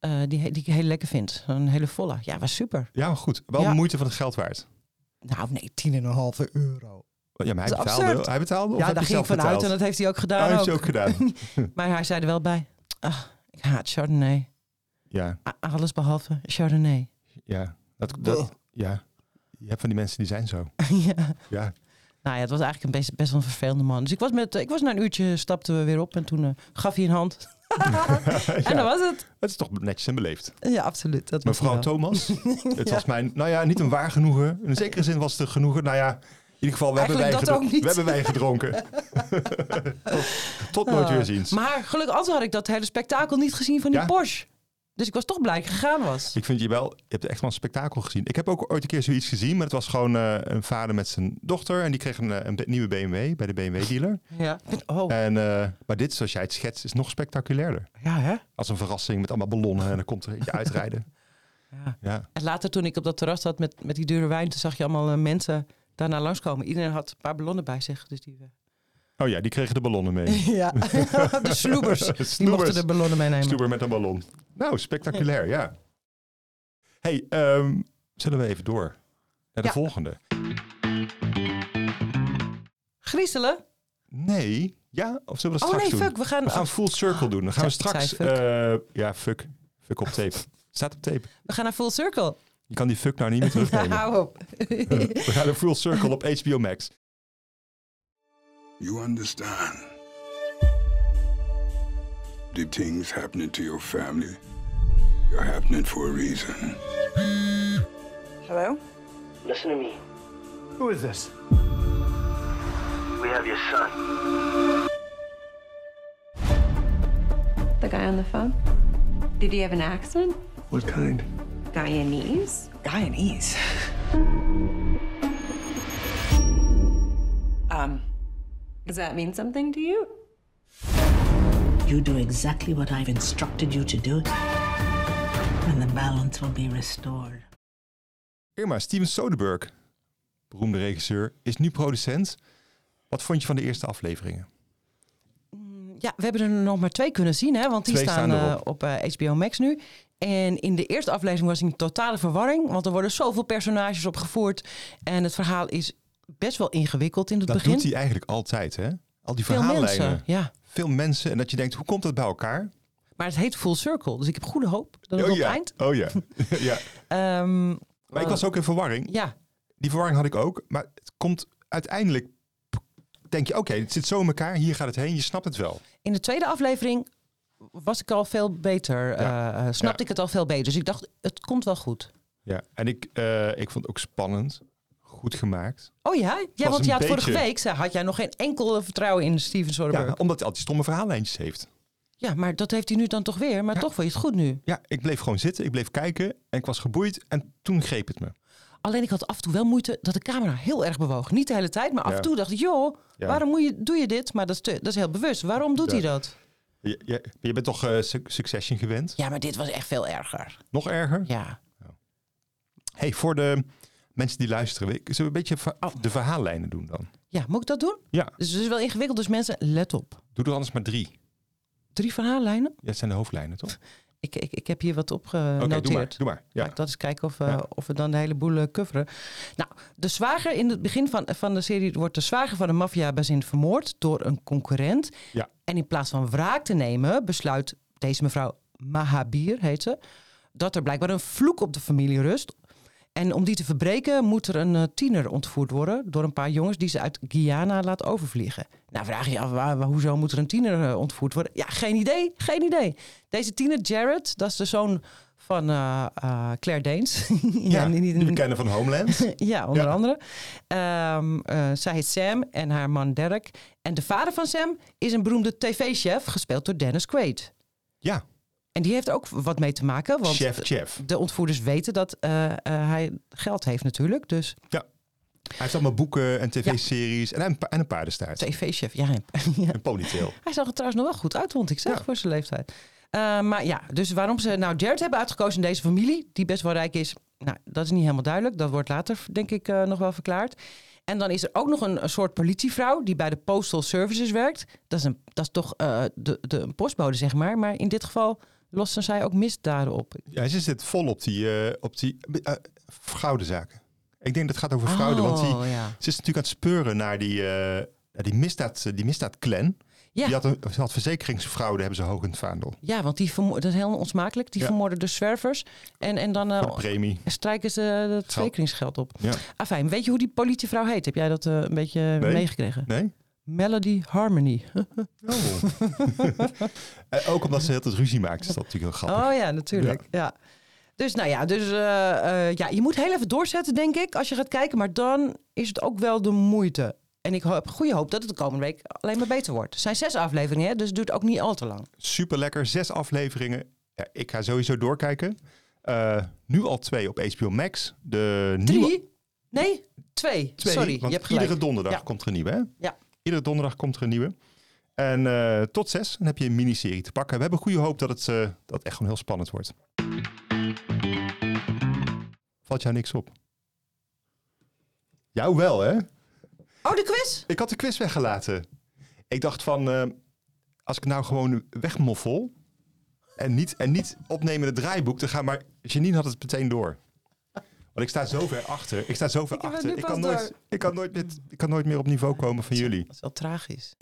Eh, die, he- die ik heel lekker vind. Een hele volle. Ja, was super.
Ja, maar goed. Wel
Ja.
de moeite van het geld waard.
Nou, nee, 10,5 euro.
Ja, maar hij
Dat is
betaalde.
absurd.
Hij betaalde of
Ja,
heb
daar
je
ging ik
zelf
vanuit
betaald?
en dat heeft hij ook
Oh,
gedaan.
heeft hij
ook.
ook gedaan.
Maar hij zei er wel bij: ah, ik haat Chardonnay.
ja,
A- Alles behalve Chardonnay.
ja. Dat, dat,
Bleh.
ja. Je hebt van die mensen die zijn zo.
ja.
Ja.
Nou ja, het was eigenlijk een best, best wel een vervelende man. Dus ik was, met, ik was na een uurtje, stapten we weer op en toen eh, gaf hij een hand. En dat was het.
Het is toch netjes en beleefd.
Ja, absoluut. Dat was
Mevrouw
hij wel.
Thomas, het was mijn, nou ja, niet een waar genoegen. In zekere zin was het een genoegen. Nou ja, in ieder geval, we, hebben
Eigenlijk
wijn,
dat
gedro-
ook niet.
we hebben wijn gedronken. tot, tot nooit weer ziens.
Ah. Maar gelukkig anders had ik dat hele spektakel niet gezien van die
Ja?
Porsche. Dus ik was toch blij dat ik gegaan was.
Ik vind je wel, je hebt echt wel een spektakel gezien. Ik heb ook ooit een keer zoiets gezien, maar het was gewoon eh, een vader met zijn dochter. En die kreeg een, eh, een be- nieuwe BMW bij de BMW-dealer.
Ja. Oh,
En, eh, maar dit, zoals jij het schetst, is nog spectaculairder.
ja hè?
Als een verrassing met allemaal ballonnen en dan komt er eentje uitrijden.
Ja.
Ja.
En later toen ik op dat terras zat met, met die dure wijn, toen zag je allemaal eh, mensen daarna langskomen. Iedereen had een paar ballonnen bij zich. Dus die, eh,
Oh ja, die kregen de ballonnen mee.
ja, de sloebers. Die
Snoebers.
mochten de ballonnen meenemen.
Stuber met een ballon. Nou, spectaculair, ja. hey, ehm, zullen we even door naar de
Ja.
volgende?
Griezelen?
Nee, ja? Of zullen we dat
Oh
straks
nee,
doen?
fuck, we gaan,
We gaan full circle doen. Dan gaan we
Ik zei- ik
straks...
zei
eh, ja, fuck. Fuck op tape. Staat op tape.
we gaan naar Full Circle.
Je kan die fuck nou niet meer
Ja,
terugnemen.
hou op.
we gaan een full circle op HBO Max.
You understand. The things happening to your family are happening for a reason.
Hello?
Listen to me.
Who is this?
We have your son.
The guy on the phone? Did he have an accent?
What kind?
Guyanese? Guyanese? um, does that mean something to you?
You do exactly what I've instructed you to do, and the balance will be restored.
Irma, Steven Soderbergh, beroemde regisseur, is nu producent. Wat vond je van de eerste afleveringen?
Ja, we hebben er nog maar twee kunnen zien, hè, want die
Twee
staan,
staan
eh,
erop.
op eh, HBO Max nu. En in de eerste aflevering was ik in totale verwarring, want er worden zoveel personages opgevoerd. En het verhaal is best wel ingewikkeld in het
Dat
begin.
doet hij eigenlijk altijd, hè? Al die
Veel
verhaallijnen.
mensen, ja.
Veel mensen. En dat je denkt, hoe komt dat bij elkaar?
Maar het heet Full Circle, dus ik heb goede hoop dat het op
ja.
het eind...
Oh ja. ja.
Ehm,
Maar ik was ook in verwarring.
Ja,
Die verwarring had ik ook. Maar het komt uiteindelijk. Denk je, oké, het zit zo in elkaar. Hier gaat het heen. Je snapt het wel.
in de tweede aflevering was ik al veel beter, eh, eh, snapte
Ja.
ik het al veel beter. Dus ik dacht, het komt wel goed.
Ja. En ik, eh, ik vond het ook spannend. Goed gemaakt.
Oh ja? Ja,
Was
want
een
ja, vorige
beetje.
week zei- had jij nog geen enkel eh, vertrouwen in Steven Soderbergh.
Ja,
Ja.
omdat hij al die stomme verhaallijntjes heeft.
maar dat heeft hij nu dan toch weer. Maar toch vond je het goed nu.
Ja, ik bleef gewoon zitten. Ik bleef kijken. En ik was geboeid. En toen greep het me.
Alleen ik had af en toe wel moeite dat de camera heel erg bewoog. Niet de hele tijd, maar af
Ja.
en toe dacht ik, joh,
Ja.
waarom moet je, doe je dit? Maar dat is, te- dat is heel bewust. Waarom doet
Ja.
hij dat?
Je, je, je bent toch eh, Suc- Succession gewend?
Ja, maar dit was echt veel erger.
Nog erger?
Ja.
Hey, voor de mensen die luisteren. we- Zullen we een beetje ver- de verhaallijnen doen dan?
Ja, moet ik dat doen?
Ja.
Dus het is wel ingewikkeld, dus mensen, let op.
Doe er anders maar drie.
Drie verhaallijnen.
Ja, het zijn de hoofdlijnen,
Eh,
toch?
Ik, ik, ik heb hier wat opgenoteerd.
Oké, doe maar. Doe maar.
Laat
Ja.
ik dat eens kijken of, eh,
Ja.
of we dan de hele boel eh, coveren. Nou, de zwager in het begin van, eh, van de serie wordt de zwager van een maffiabazin vermoord door een concurrent.
Ja.
En in plaats van wraak te nemen, besluit deze mevrouw Mahabir, heet ze, dat er blijkbaar een vloek op de familie rust. En om die te verbreken moet er een eh, tiener ontvoerd worden door een paar jongens die ze uit Guyana laat overvliegen. Nou vraag je je af, waar, waar- hoezo moet er een tiener eh, ontvoerd worden? Ja, geen idee, geen idee. Deze tiener, Jared, dat is de zoon van van eh, eh, Claire Danes.
Ja,
niet- niet-
die we kennen van Homeland.
ja, onder
Ja.
andere. Ehm, eh, zij heet Sam en haar man Derek. En de vader van Sam is een beroemde tv-chef, gespeeld door Dennis Quaid.
Ja.
En die heeft er ook wat mee te maken. Want eh,
Chef, chef.
De ontvoerders weten dat eh, eh, hij geld heeft natuurlijk. Dus
Ja. Hij heeft allemaal boeken en tv-series en, een pa- en een paardenstaart.
TV-chef, ja.
Een ponytail.
Hij zag er trouwens nog wel goed uit, vond ik zeg, voor zijn leeftijd. Eh, maar ja, dus waarom ze nou Jared hebben uitgekozen in deze familie, die best wel rijk is, nou, dat is niet helemaal duidelijk. Dat wordt later, denk ik, eh, nog wel verklaard. En dan is er ook nog een, een soort politievrouw die bij de Postal Services werkt. Dat is, een, dat is toch eh, de, de, een postbode, zeg maar. Maar in dit geval lossen zij ook misdaden op.
Ja, ze zit vol op die, eh, op die eh, fraudezaken. Ik denk dat het gaat over fraude, want
Oh,
die,
ja.
ze is natuurlijk aan het speuren naar die, eh, naar die, misdaad, eh, die misdaadclan.
Ja.
Die had, een, ze had verzekeringsfraude, hebben ze hoog in het vaandel.
Ja, want die vermo- dat is heel onsmakelijk. Die
Ja.
vermoorden de zwervers. En, en dan eh,
Voor de premie.
strijken ze het verzekeringsgeld op.
Ja.
Afijn, weet je hoe die politievrouw heet? Heb jij dat eh, een beetje
Nee.
meegekregen?
Nee. Oh.
Melody Harmony.
Eh, ook omdat ze heel veel ruzie maakt, is dat natuurlijk heel grappig.
Oh ja, natuurlijk. Ja. Dus nou ja, dus, eh, eh, ja, je moet heel even doorzetten, denk ik, als je gaat kijken. Maar dan is het ook wel de moeite. En ik ho- heb goede hoop dat het de komende week alleen maar beter wordt. Het zijn zes afleveringen, hè, dus het duurt ook niet al te lang.
Super lekker, zes afleveringen. Ja, ik ga sowieso doorkijken. Eh, nu al twee op HBO Max. De nieuwe,
Drie? Nee, twee.
twee,
Sorry,
want
je hebt gelijk.
iedere donderdag komt er een nieuwe, hè?
Ja.
Iedere donderdag komt er een nieuwe. En eh, tot zes dan heb je een miniserie te pakken. We hebben goede hoop dat het, eh, dat het echt gewoon heel spannend wordt. Valt jou niks op? Jou wel, hè?
Oh, de quiz?
Ik had de quiz weggelaten. Ik dacht van, eh, als ik nou gewoon wegmoffel en niet, en niet opnemen in het draaiboek, dan ga maar... Janine had het meteen door. Want ik sta zo ver achter. Ik sta zo ver
heb het
achter.
nu
Ik
pas
kan, nooit,
door.
ik, kan nooit met, ik kan nooit meer op niveau komen van jullie.
Dat is wel tragisch.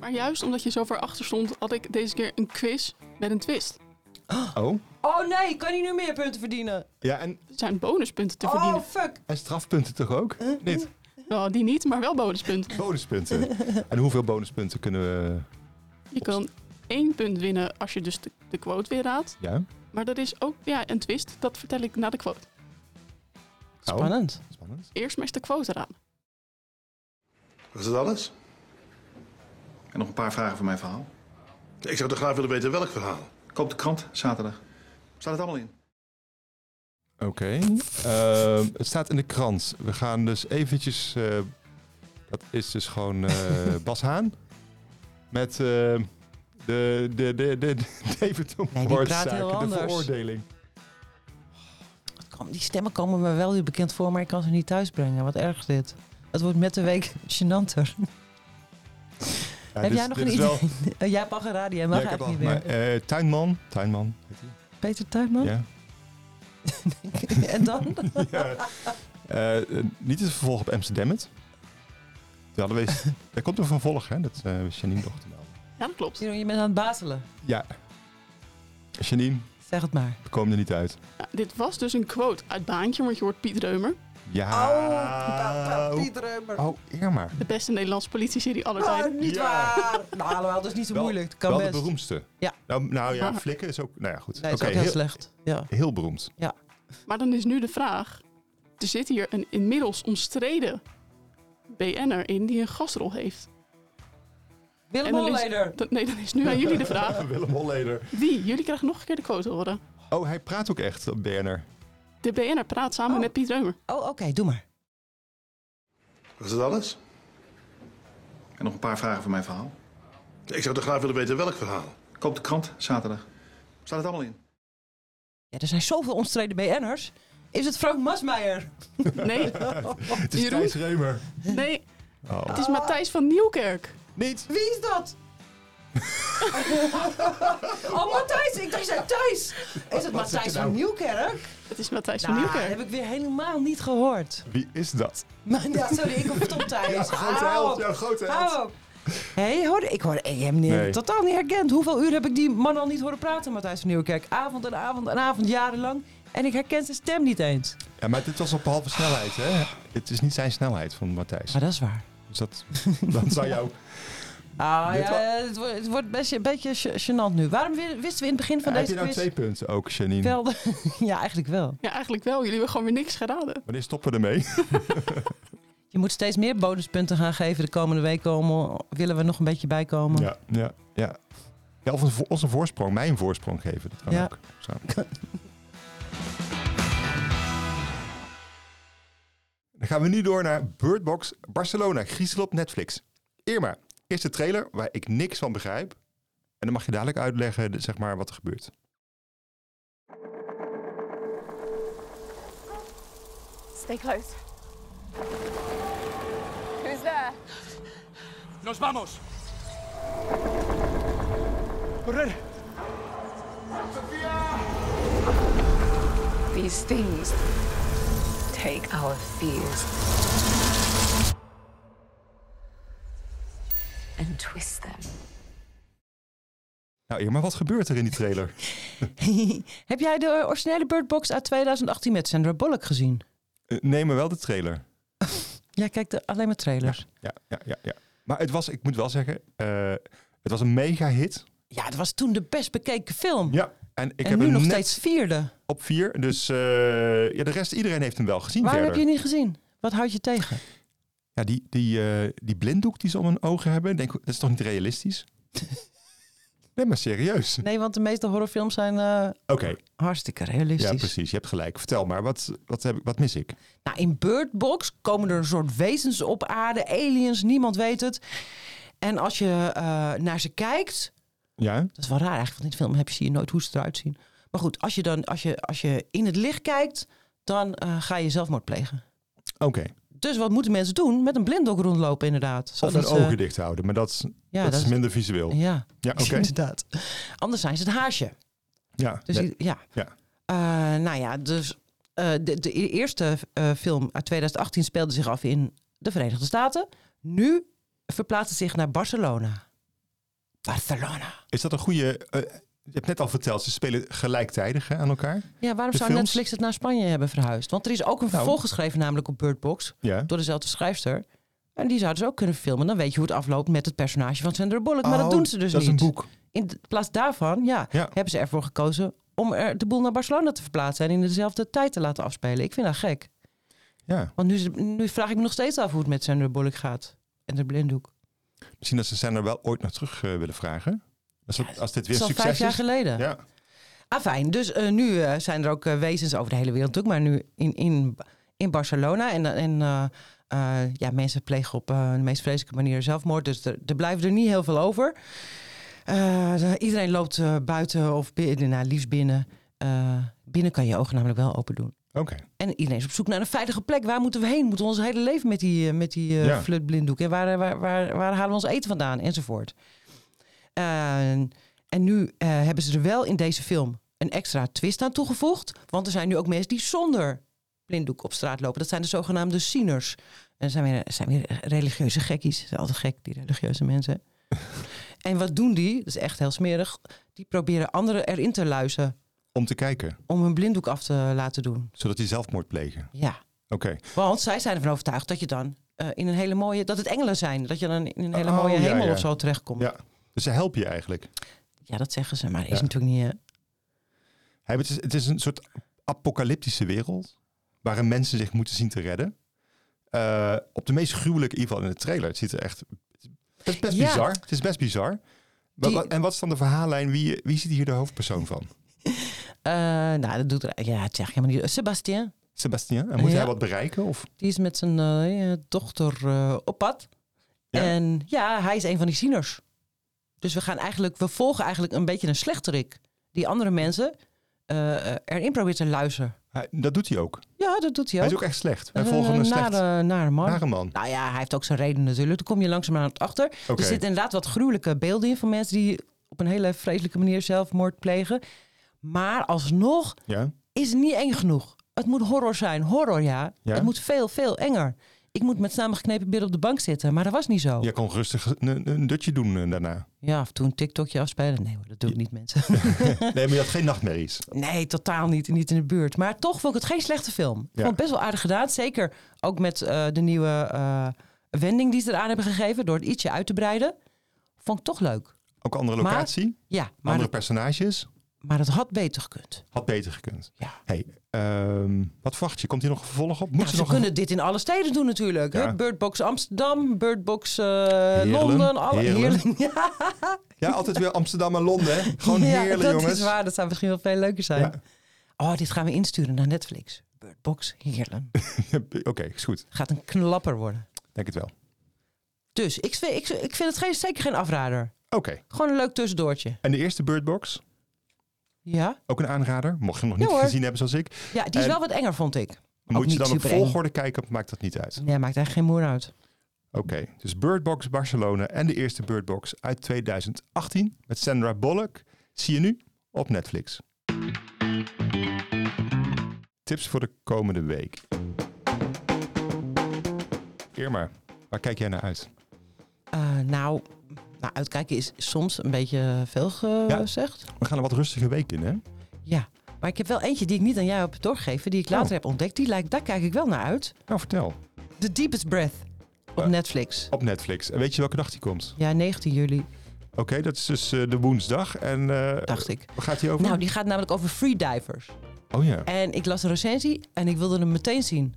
Maar juist omdat je zo ver achter stond, had ik deze keer een quiz met een twist.
Oh?
Oh nee, ik kan niet nu meer punten verdienen.
Ja, en,
Er zijn bonuspunten te
Oh,
verdienen.
fuck.
en strafpunten toch ook? Niet?
Nou, die niet, maar wel bonuspunten.
Bonuspunten. En hoeveel bonuspunten kunnen we...
Je kan één punt winnen als je dus de, de quote weer raadt.
Ja?
Maar er is ook ja, een twist, dat vertel ik na de quote.
Oh.
Spannend.
Spannend.
Eerst maar eens de quote raden.
Was dat alles?
En nog een paar vragen voor mijn verhaal.
Ik zou toch graag willen weten welk verhaal.
Koop de krant zaterdag. Staat het allemaal in?
Oké. Ehm, het staat in de krant. We gaan dus eventjes... eh, dat is dus gewoon eh, Bas Haan. Met eh, de, de, de, de, de David
die praat heel
De
anders.
veroordeling.
Kom, Die stemmen komen me wel weer bekend voor, maar ik kan ze niet thuisbrengen. Wat erg dit. Het wordt met de week gênanter. Heb
Ja, dit-
jij nog
dit
een
is
idee?
wel-
Eh, Jij hebt al geraden, jij
Ja,
mag
ik heb
eigenlijk
al-
niet meer.
maar, eh, tuinman. Tuinman. heet hij.
Peter Tuinman?
Ja.
en dan?
Eh, eh, niet het vervolg op Amsterdam. Het. Ja, dat wees, er komt een vervolg, hè? Dat eh Janine dochter wel.
Ja, dat klopt.
Je bent aan het bazelen.
Ja. Janine,
Zeg het maar.
we komen er niet uit.
Ja, dit was dus een quote uit Baantje, want je hoort Piet Reumer.
Ja.
Oh, Piet Reumer.
Oh, Irma.
De beste Nederlandse politieserie aller
Oh,
tijden.
niet
Ja.
waar. Nou, alhoewel, dat is niet zo
Wel-
moeilijk. Het Kan
wel
best.
de beroemdste.
Ja.
Nou, nou ja,
Ah.
Flikken is ook... Nou ja, goed.
Nee, het is
Oké,
ook heel, slecht. Ja.
Heel beroemd.
ja.
Maar dan is nu de vraag: er zit hier een inmiddels omstreden BN'er in die een gastrol heeft.
Willem
En dan is-
Holleder.
dan- nee, dan is nu aan jullie de vraag:
Willem Holleder.
wie? Jullie krijgen nog een keer de quote horen.
Oh, hij praat ook echt, dat BNR.
De BN'er praat samen met Piet Reumer.
Oh, oké, doe maar.
Was dat alles?
En nog een paar vragen voor mijn verhaal.
Ik zou toch graag willen weten welk verhaal.
Koop de krant zaterdag. Staat het allemaal in?
Ja, er zijn zoveel omstreden BN'ers. Is het Frank Masmeijer?
Nee,
Het is
Jeroen?
Thijs Reumer.
nee,
Oh.
het is Matthijs van Nieuwkerk.
Niet.
Wie is dat? oh, Matthijs. Ik dacht, je zei Thijs. Is het
Wat zeg je
Matthijs
nou?
van Nieuwkerk?
Het is Matthijs van
Nou,
Nieuwkerk.
heb ik weer helemaal niet gehoord.
Wie is dat?
Maar, ja, sorry, ik hoef het op
Ja,
Thijs.
grote
Hou
held.
op.
Ja, grote held.
Hou op. Hé, hoor, ik hoor eh, ik heb hem niet,
Nee.
totaal niet herkend. Hoeveel uur heb ik die man al niet horen praten, Matthijs van Nieuwkerk? Avond en avond en avond, jarenlang. En ik herken zijn stem niet eens.
Ja, maar dit was op halve snelheid, hè? Het is niet zijn snelheid van Matthijs.
Maar dat is waar.
Dus dat, dat zou jou...
Ah,
Dit wa-
ja, het, wordt, het wordt best een beetje ge- gênant nu. Waarom wi- wisten we in het begin van
Heb
deze
je nou
quiz...
twee punten ook, Janine?
wel de- ja, eigenlijk wel.
Ja, eigenlijk wel. Jullie hebben gewoon weer niks geraden.
Wanneer stoppen we ermee?
Je moet steeds meer bonuspunten gaan geven de komende week. Om, willen we nog een beetje bijkomen?
Ja, ja, ja. ja of een vo- ons een voorsprong, mijn voorsprong geven. Dat kan
Ja.
ook. Zo. Dan gaan we nu door naar Bird Box Barcelona, Griezel op Netflix. Irma, eerste trailer waar ik niks van begrijp. En dan mag je dadelijk uitleggen de- zeg maar, wat er gebeurt.
Stay close. Who's there?
Nos vamos. Correr.
These things take our fears and twist them.
Nou Irma, wat gebeurt er in die trailer?
Heb jij de originele Bird Box uit 2018 met Sandra Bullock gezien?
Eh, Neem maar wel de trailer.
Jij kijkt er alleen maar trailers.
Ja, ja, ja. ja. Maar het was, ik moet wel zeggen, eh, het was een mega hit.
Ja, het was toen de best bekeken film.
Ja. En, ik
En
heb
nu
hem
nog
net
steeds vierde.
Op vier. Dus eh, ja, de rest, iedereen heeft hem wel gezien
Waarom heb
verder.
je het niet gezien? Wat houd je tegen?
Ja, die, die, eh, die blinddoek die ze om hun ogen hebben, denk, ik, dat is toch niet realistisch? nee, maar serieus.
Nee, want de meeste horrorfilms zijn... eh,
Oké.
Hartstikke realistisch.
Ja, precies. Je hebt gelijk. Vertel maar, wat, wat, heb ik, wat mis ik?
Nou, in Bird Box komen er een soort wezens op aarde, aliens, niemand weet het. En als je eh, naar ze kijkt,
Ja?
dat is wel raar eigenlijk, want in de film heb je, zie je nooit hoe ze eruit zien. Maar goed, als je, dan, als je, als je in het licht kijkt, dan eh, ga je zelfmoord plegen.
Oké.
Dus wat moeten mensen doen? Met een blinddoek rondlopen inderdaad.
Of
Zodat
hun
ze-
ogen dicht houden, maar dat, is-
eh, Ja,
dat,
dat
is
is-
minder visueel.
Ja,
Ja, oké.
inderdaad. Anders zijn ze het haasje.
Ja.
Dus
nee.
i- ja.
ja.
Eh, nou ja, dus eh, de, de e- eerste eh, film uit 2018 speelde zich af in de Verenigde Staten. Nu verplaatst het zich naar Barcelona. Barcelona.
Is dat een goede... eh, je hebt net al verteld, ze spelen gelijktijdig hè, aan elkaar.
Ja, waarom
De
zou
films? Nou.
Netflix het naar Spanje hebben verhuisd? Want er is ook een vervolg geschreven, namelijk op Bird Box,
Ja.
door dezelfde schrijfster. En die zouden ze ook kunnen filmen. Dan weet je hoe het afloopt met het personage van Sandra Bullock. Maar
Oh,
dat doen ze dus
dat is
niet.
een boek.
In de- plaats daarvan ja, hebben ze ervoor gekozen om er de boel naar Barcelona te verplaatsen en in dezelfde tijd te laten afspelen. Ik vind dat gek.
Ja.
Want nu, is het- nu vraag ik me nog steeds af hoe het met Sandra Bullock gaat. En de blinddoek.
Misschien dat ze zijn er wel ooit naar terug eh, willen vragen. Als, het- als dit
Het
weer
is al
succes
vijf jaar
is.
geleden.
Ja.
Ah, fijn. Dus eh, nu eh, zijn er ook eh, wezens over de hele wereld natuurlijk. Maar nu in, in, in Barcelona. En, en eh, eh, ja, mensen plegen op eh, de meest vreselijke manier zelfmoord. Dus er, er blijven er niet heel veel over. Eh, de- iedereen loopt eh, buiten of binnen. Nou, liefst binnen. Eh, binnen kan je je ogen namelijk wel open doen.
Oké.
En iedereen is op zoek naar een veilige plek. Waar moeten we heen? Moeten we ons hele leven met die, eh, met die eh,
Ja.
flutblinddoek? En waar, eh, waar, waar, waar halen we ons eten vandaan? Enzovoort. En, en nu eh, hebben ze er wel in deze film een extra twist aan toegevoegd. Want er zijn nu ook mensen die zonder blinddoek op straat lopen. Dat zijn de zogenaamde zieners. En dat zijn weer, zijn weer religieuze gekkies. Dat zijn altijd gek, die religieuze mensen. en wat doen die? Dat is echt heel smerig. Die proberen anderen erin te luizen
Om te kijken,
om hun blinddoek af te laten doen.
zodat die zelfmoord plegen.
Ja.
Oké.
Want zij zijn ervan overtuigd dat je dan eh, in een hele mooie, dat het engelen zijn, dat je dan in een hele mooie
Oh, ja,
hemel
ja.
of zo terechtkomt.
Ja. Dus ze helpen je eigenlijk.
Ja, dat zeggen ze, maar is
Ja.
natuurlijk niet. eh,
Hij- Het is, het is een soort apocalyptische wereld waarin mensen zich moeten zien te redden. Eh, op de meest gruwelijke, in ieder geval in de trailer. Het ziet er echt. Het is best
Ja.
bizar. Het is best bizar. Wa-
Die-
wa- en wat is dan de verhaallijn? Wie, wie zit hier de hoofdpersoon van?
eh, nou, dat doet er, ja, het zeg helemaal niet. Sebastien,
Sebastian. En moet
Ja.
hij wat bereiken? Of?
die is met zijn eh, eh, dochter eh, op pad. En ja, hij is een van die zieners. Dus we gaan eigenlijk, we volgen eigenlijk een beetje een slechterik die andere mensen eh, eh, erin probeert te luisteren.
Hij- dat doet hij ook.
Ja, dat doet hij ook.
Hij is ook echt slecht. Wij
Eh,
volgen een slecht.
nare, nare man.
nare man.
Nou ja, hij heeft ook zijn reden natuurlijk. Daar kom je langzamerhand achter.
Oké.
Er zitten inderdaad wat gruwelijke beelden in van mensen die op een hele vreselijke manier zelfmoord plegen. Maar alsnog
Ja.
is het niet eng genoeg. Het moet horror zijn. Horror, ja.
Ja?
Het moet veel, veel enger. Ik moet met samengeknepen billen op de bank zitten, maar dat was niet zo.
Jij kon rustig een, een dutje doen eh, daarna.
Ja, of toen een TikTokje afspelen. Nee hoor, dat doe ik niet, mensen.
nee, maar je had geen nachtmerries.
Nee, totaal niet. Niet in de buurt. Maar toch vond ik het geen slechte film. Ik
Ja.
vond het best wel aardig gedaan. Zeker ook met eh, de nieuwe eh, wending die ze eraan hebben gegeven. Door het ietsje uit te breiden. Vond ik toch leuk.
Ook andere
Maar-
locatie,
ja, maar
andere
dat-
personages.
Maar dat had beter gekund.
Had beter gekund.
Ja.
Hey, ehm, wat verwacht je? Komt hier nog een vervolg op? Moeten
Nou,
ze
ze
nog
kunnen dit in alle steden doen natuurlijk. hè?
Ja.
Birdbox Amsterdam, Birdbox eh, Londen. Alle,
Heerlen.
Heerlen. Ja,
Ja, altijd weer Amsterdam en Londen. hè? Gewoon
Ja,
heerlijk,
dat
jongens.
is waar. Dat zou misschien wel veel leuker zijn. Oh, dit gaan we insturen naar Netflix. Birdbox Heerlen.
Oké, is goed.
Gaat een knapper worden.
Denk het wel.
Dus ik vind, ik, ik vind het geen, zeker geen afrader.
Oké.
Gewoon een leuk tussendoortje.
En de eerste Birdbox,
Ja,
ook een aanrader. Mocht je hem nog
Ja,
niet
hoor.
gezien hebben zoals ik.
ja die is
En
wel wat enger, vond ik. Ook
Moet je
niet
dan op
supereng.
volgorde kijken, of maakt dat niet uit.
Ja, maakt eigenlijk geen moer uit.
Oké, dus Birdbox Barcelona en de eerste Birdbox uit 2018 met Sandra Bullock. Zie je nu op Netflix. Tips voor de komende week. Irma, waar kijk jij naar uit?
Eh, nou, nou, uitkijken is soms een beetje veel gezegd.
We gaan een wat rustige week in, hè?
Ja, maar ik heb wel eentje die ik niet aan jou heb doorgegeven, die ik later
Oh.
heb ontdekt. Die lijkt, daar kijk ik wel naar uit.
Nou, vertel.
The Deepest Breath op
Eh.
Netflix.
Op Netflix. En weet je welke dag die komt?
Ja, 19 juli,
Oké, dat is dus eh, de woensdag. En eh,
dacht ik.
waar gaat die over?
Nou, die gaat namelijk over freedivers.
Oh ja,
En ik las een recensie en ik wilde hem meteen zien.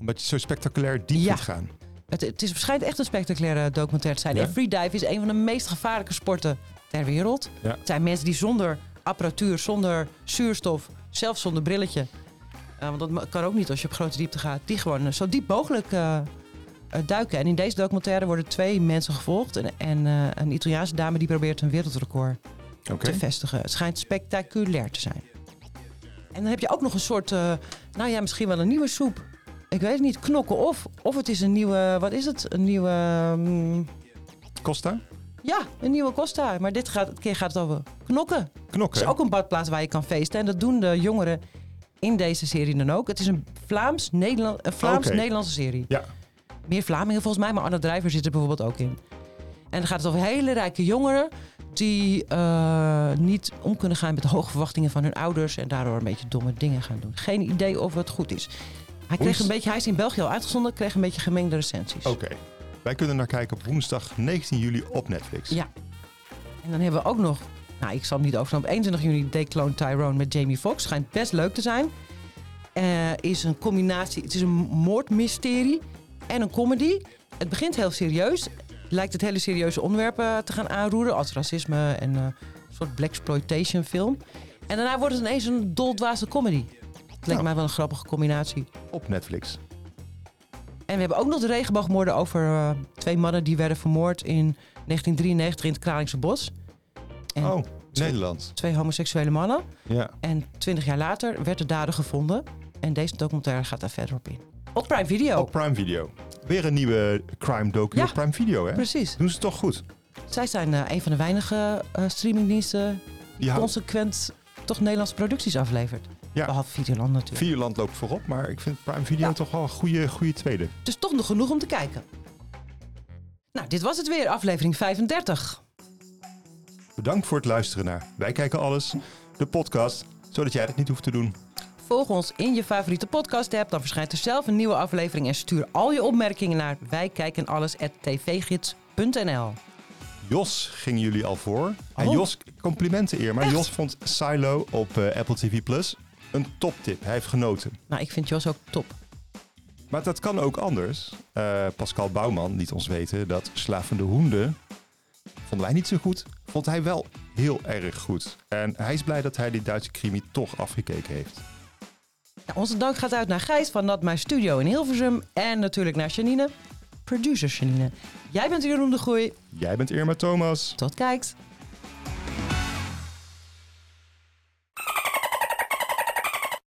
omdat je zo spectaculair diep
Ja.
moet gaan.
Het, het is waarschijnlijk echt een spectaculaire documentaire te zijn.
Ja.
En freedive is een van de meest gevaarlijke sporten ter wereld.
Ja.
Het zijn mensen die zonder apparatuur, zonder zuurstof, zelfs zonder brilletje... eh, want dat ma- kan ook niet als je op grote diepte gaat... die gewoon eh, zo diep mogelijk eh, eh, duiken. En in deze documentaire worden twee mensen gevolgd... en, en eh, een Italiaanse dame die probeert een wereldrecord
Oké.
te vestigen. Het schijnt spectaculair te zijn. En dan heb je ook nog een soort, eh, nou ja, misschien wel een nieuwe soep. Ik weet het niet, knokken of. Of het is een nieuwe, wat is het? Een nieuwe, mm,
Costa?
ja, een nieuwe Costa. Maar dit gaat, dit keer gaat het over knokken.
Knokken?
Het is ook een badplaats waar je kan feesten. En dat doen de jongeren in deze serie dan ook. Het is een Vlaams-Nederland- een Vlaams-Nederlandse serie.
Ja.
Meer Vlamingen volgens mij, maar Arno Drijver zit er bijvoorbeeld ook in. En dan gaat het over hele rijke jongeren die eh, niet om kunnen gaan met de hoge verwachtingen van hun ouders en daardoor een beetje domme dingen gaan doen. Geen idee of het goed is. Hij, kreeg
Woens-
een beetje, hij is in België al uitgezonden, kreeg een beetje gemengde recensies.
Oké. Wij kunnen naar kijken op woensdag 19 juli op Netflix.
Ja. En dan hebben we ook nog, nou ik zal hem niet overslaan, op 21 juni Declone Tyrone met Jamie Foxx. Schijnt best leuk te zijn. Eh, is een combinatie, het is een moordmysterie en een comedy. Het begint heel serieus. Lijkt het hele serieuze onderwerpen te gaan aanroeren, als racisme en eh, een soort blaxploitation film. En daarna wordt het ineens een doldwaze comedy. Het leek
Nou.
mij wel een grappige combinatie.
Op Netflix.
En we hebben ook nog de regenboogmoorden over eh, twee mannen die werden vermoord in 1993 in het Kralingse Bos. En
oh, Nederland.
Twee homoseksuele mannen.
Ja.
En twintig jaar later werd de dader gevonden. En deze documentaire gaat daar verder op in. Op Prime Video.
Op Oh, Prime Video. Weer een nieuwe crime docu
Ja,
op Prime Video, hè?
precies.
Doen ze het toch goed?
Zij zijn eh, een van de weinige eh, streamingdiensten die
Ja.
consequent toch Nederlandse producties aflevert.
Ja.
Behalve Videoland natuurlijk.
Vierland loopt voorop, maar ik vind Prime Video toch wel een goede, goede tweede.
Dus toch nog genoeg om te kijken. Nou, dit was het weer, aflevering 35.
Bedankt voor het luisteren naar Wij Kijken Alles, de podcast, zodat jij dat niet hoeft te doen.
Volg ons in je favoriete podcast app, dan verschijnt er zelf een nieuwe aflevering en stuur al je opmerkingen naar wijkijkenalles@tvgids.nl.
Jos ging jullie al voor. En
Oh.
Jos, complimenten eer, maar Jos vond Silo op eh, Apple TV Plus een toptip. Hij heeft genoten.
Nou, ik vind Jos ook top.
Maar dat kan ook anders. Eh, Pascal Bouwman liet ons weten dat Slavende Hoenden vonden wij niet zo goed. Vond hij wel heel erg goed. En hij is blij dat hij die Duitse krimi toch afgekeken heeft.
Ja, onze dank gaat uit naar Gijs van Nat My Studio in Hilversum en natuurlijk naar Janine, producer Janine. Jij bent Jeroen de Groei.
Jij bent Irma Thomas.
Tot kijks.